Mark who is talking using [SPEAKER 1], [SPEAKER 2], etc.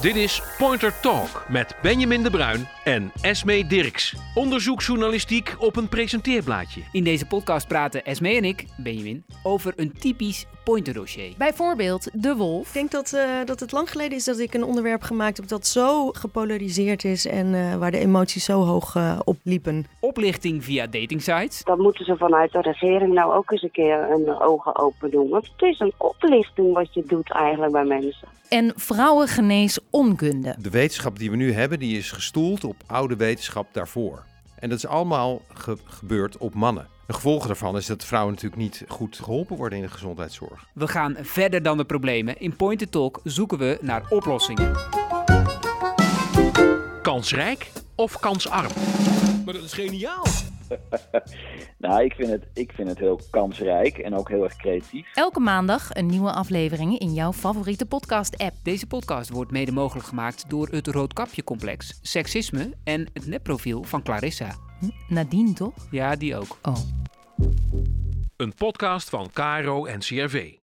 [SPEAKER 1] Dit is Pointer Talk met Benjamin de Bruin en Esme Dirks. Onderzoeksjournalistiek op een presenteerblaadje.
[SPEAKER 2] In deze podcast praten Esme en ik, Benjamin, over een typisch pointerdossier.
[SPEAKER 3] Bijvoorbeeld de wolf.
[SPEAKER 4] Ik denk dat, eh, dat het lang geleden is dat ik een onderwerp gemaakt heb dat zo gepolariseerd is en eh, waar de emoties zo hoog eh, opliepen.
[SPEAKER 2] Oplichting via datingsites.
[SPEAKER 5] Dan moeten ze vanuit de regering nou ook eens een keer hun ogen open doen. Want het is een oplichting wat je doet eigenlijk bij mensen.
[SPEAKER 3] En vrouwengenees onkunde.
[SPEAKER 6] De wetenschap die we nu hebben, die is gestoeld op oude wetenschap daarvoor. En dat is allemaal ge- gebeurd op mannen. De gevolgen daarvan is dat vrouwen natuurlijk niet goed geholpen worden in de gezondheidszorg.
[SPEAKER 2] We gaan verder dan de problemen. In Pointer Talk zoeken we naar oplossingen.
[SPEAKER 1] Kansrijk of kansarm? Maar dat is geniaal.
[SPEAKER 7] Nou, ik vind, het, ik vind het heel kansrijk en ook heel erg creatief.
[SPEAKER 3] Elke maandag een nieuwe aflevering in jouw favoriete podcast-app.
[SPEAKER 2] Deze podcast wordt mede mogelijk gemaakt door het Roodkapje-complex, seksisme en het nepprofiel van Clarissa.
[SPEAKER 3] Nadien toch?
[SPEAKER 2] Ja, die ook.
[SPEAKER 3] Oh.
[SPEAKER 1] Een podcast van KRO en CRV.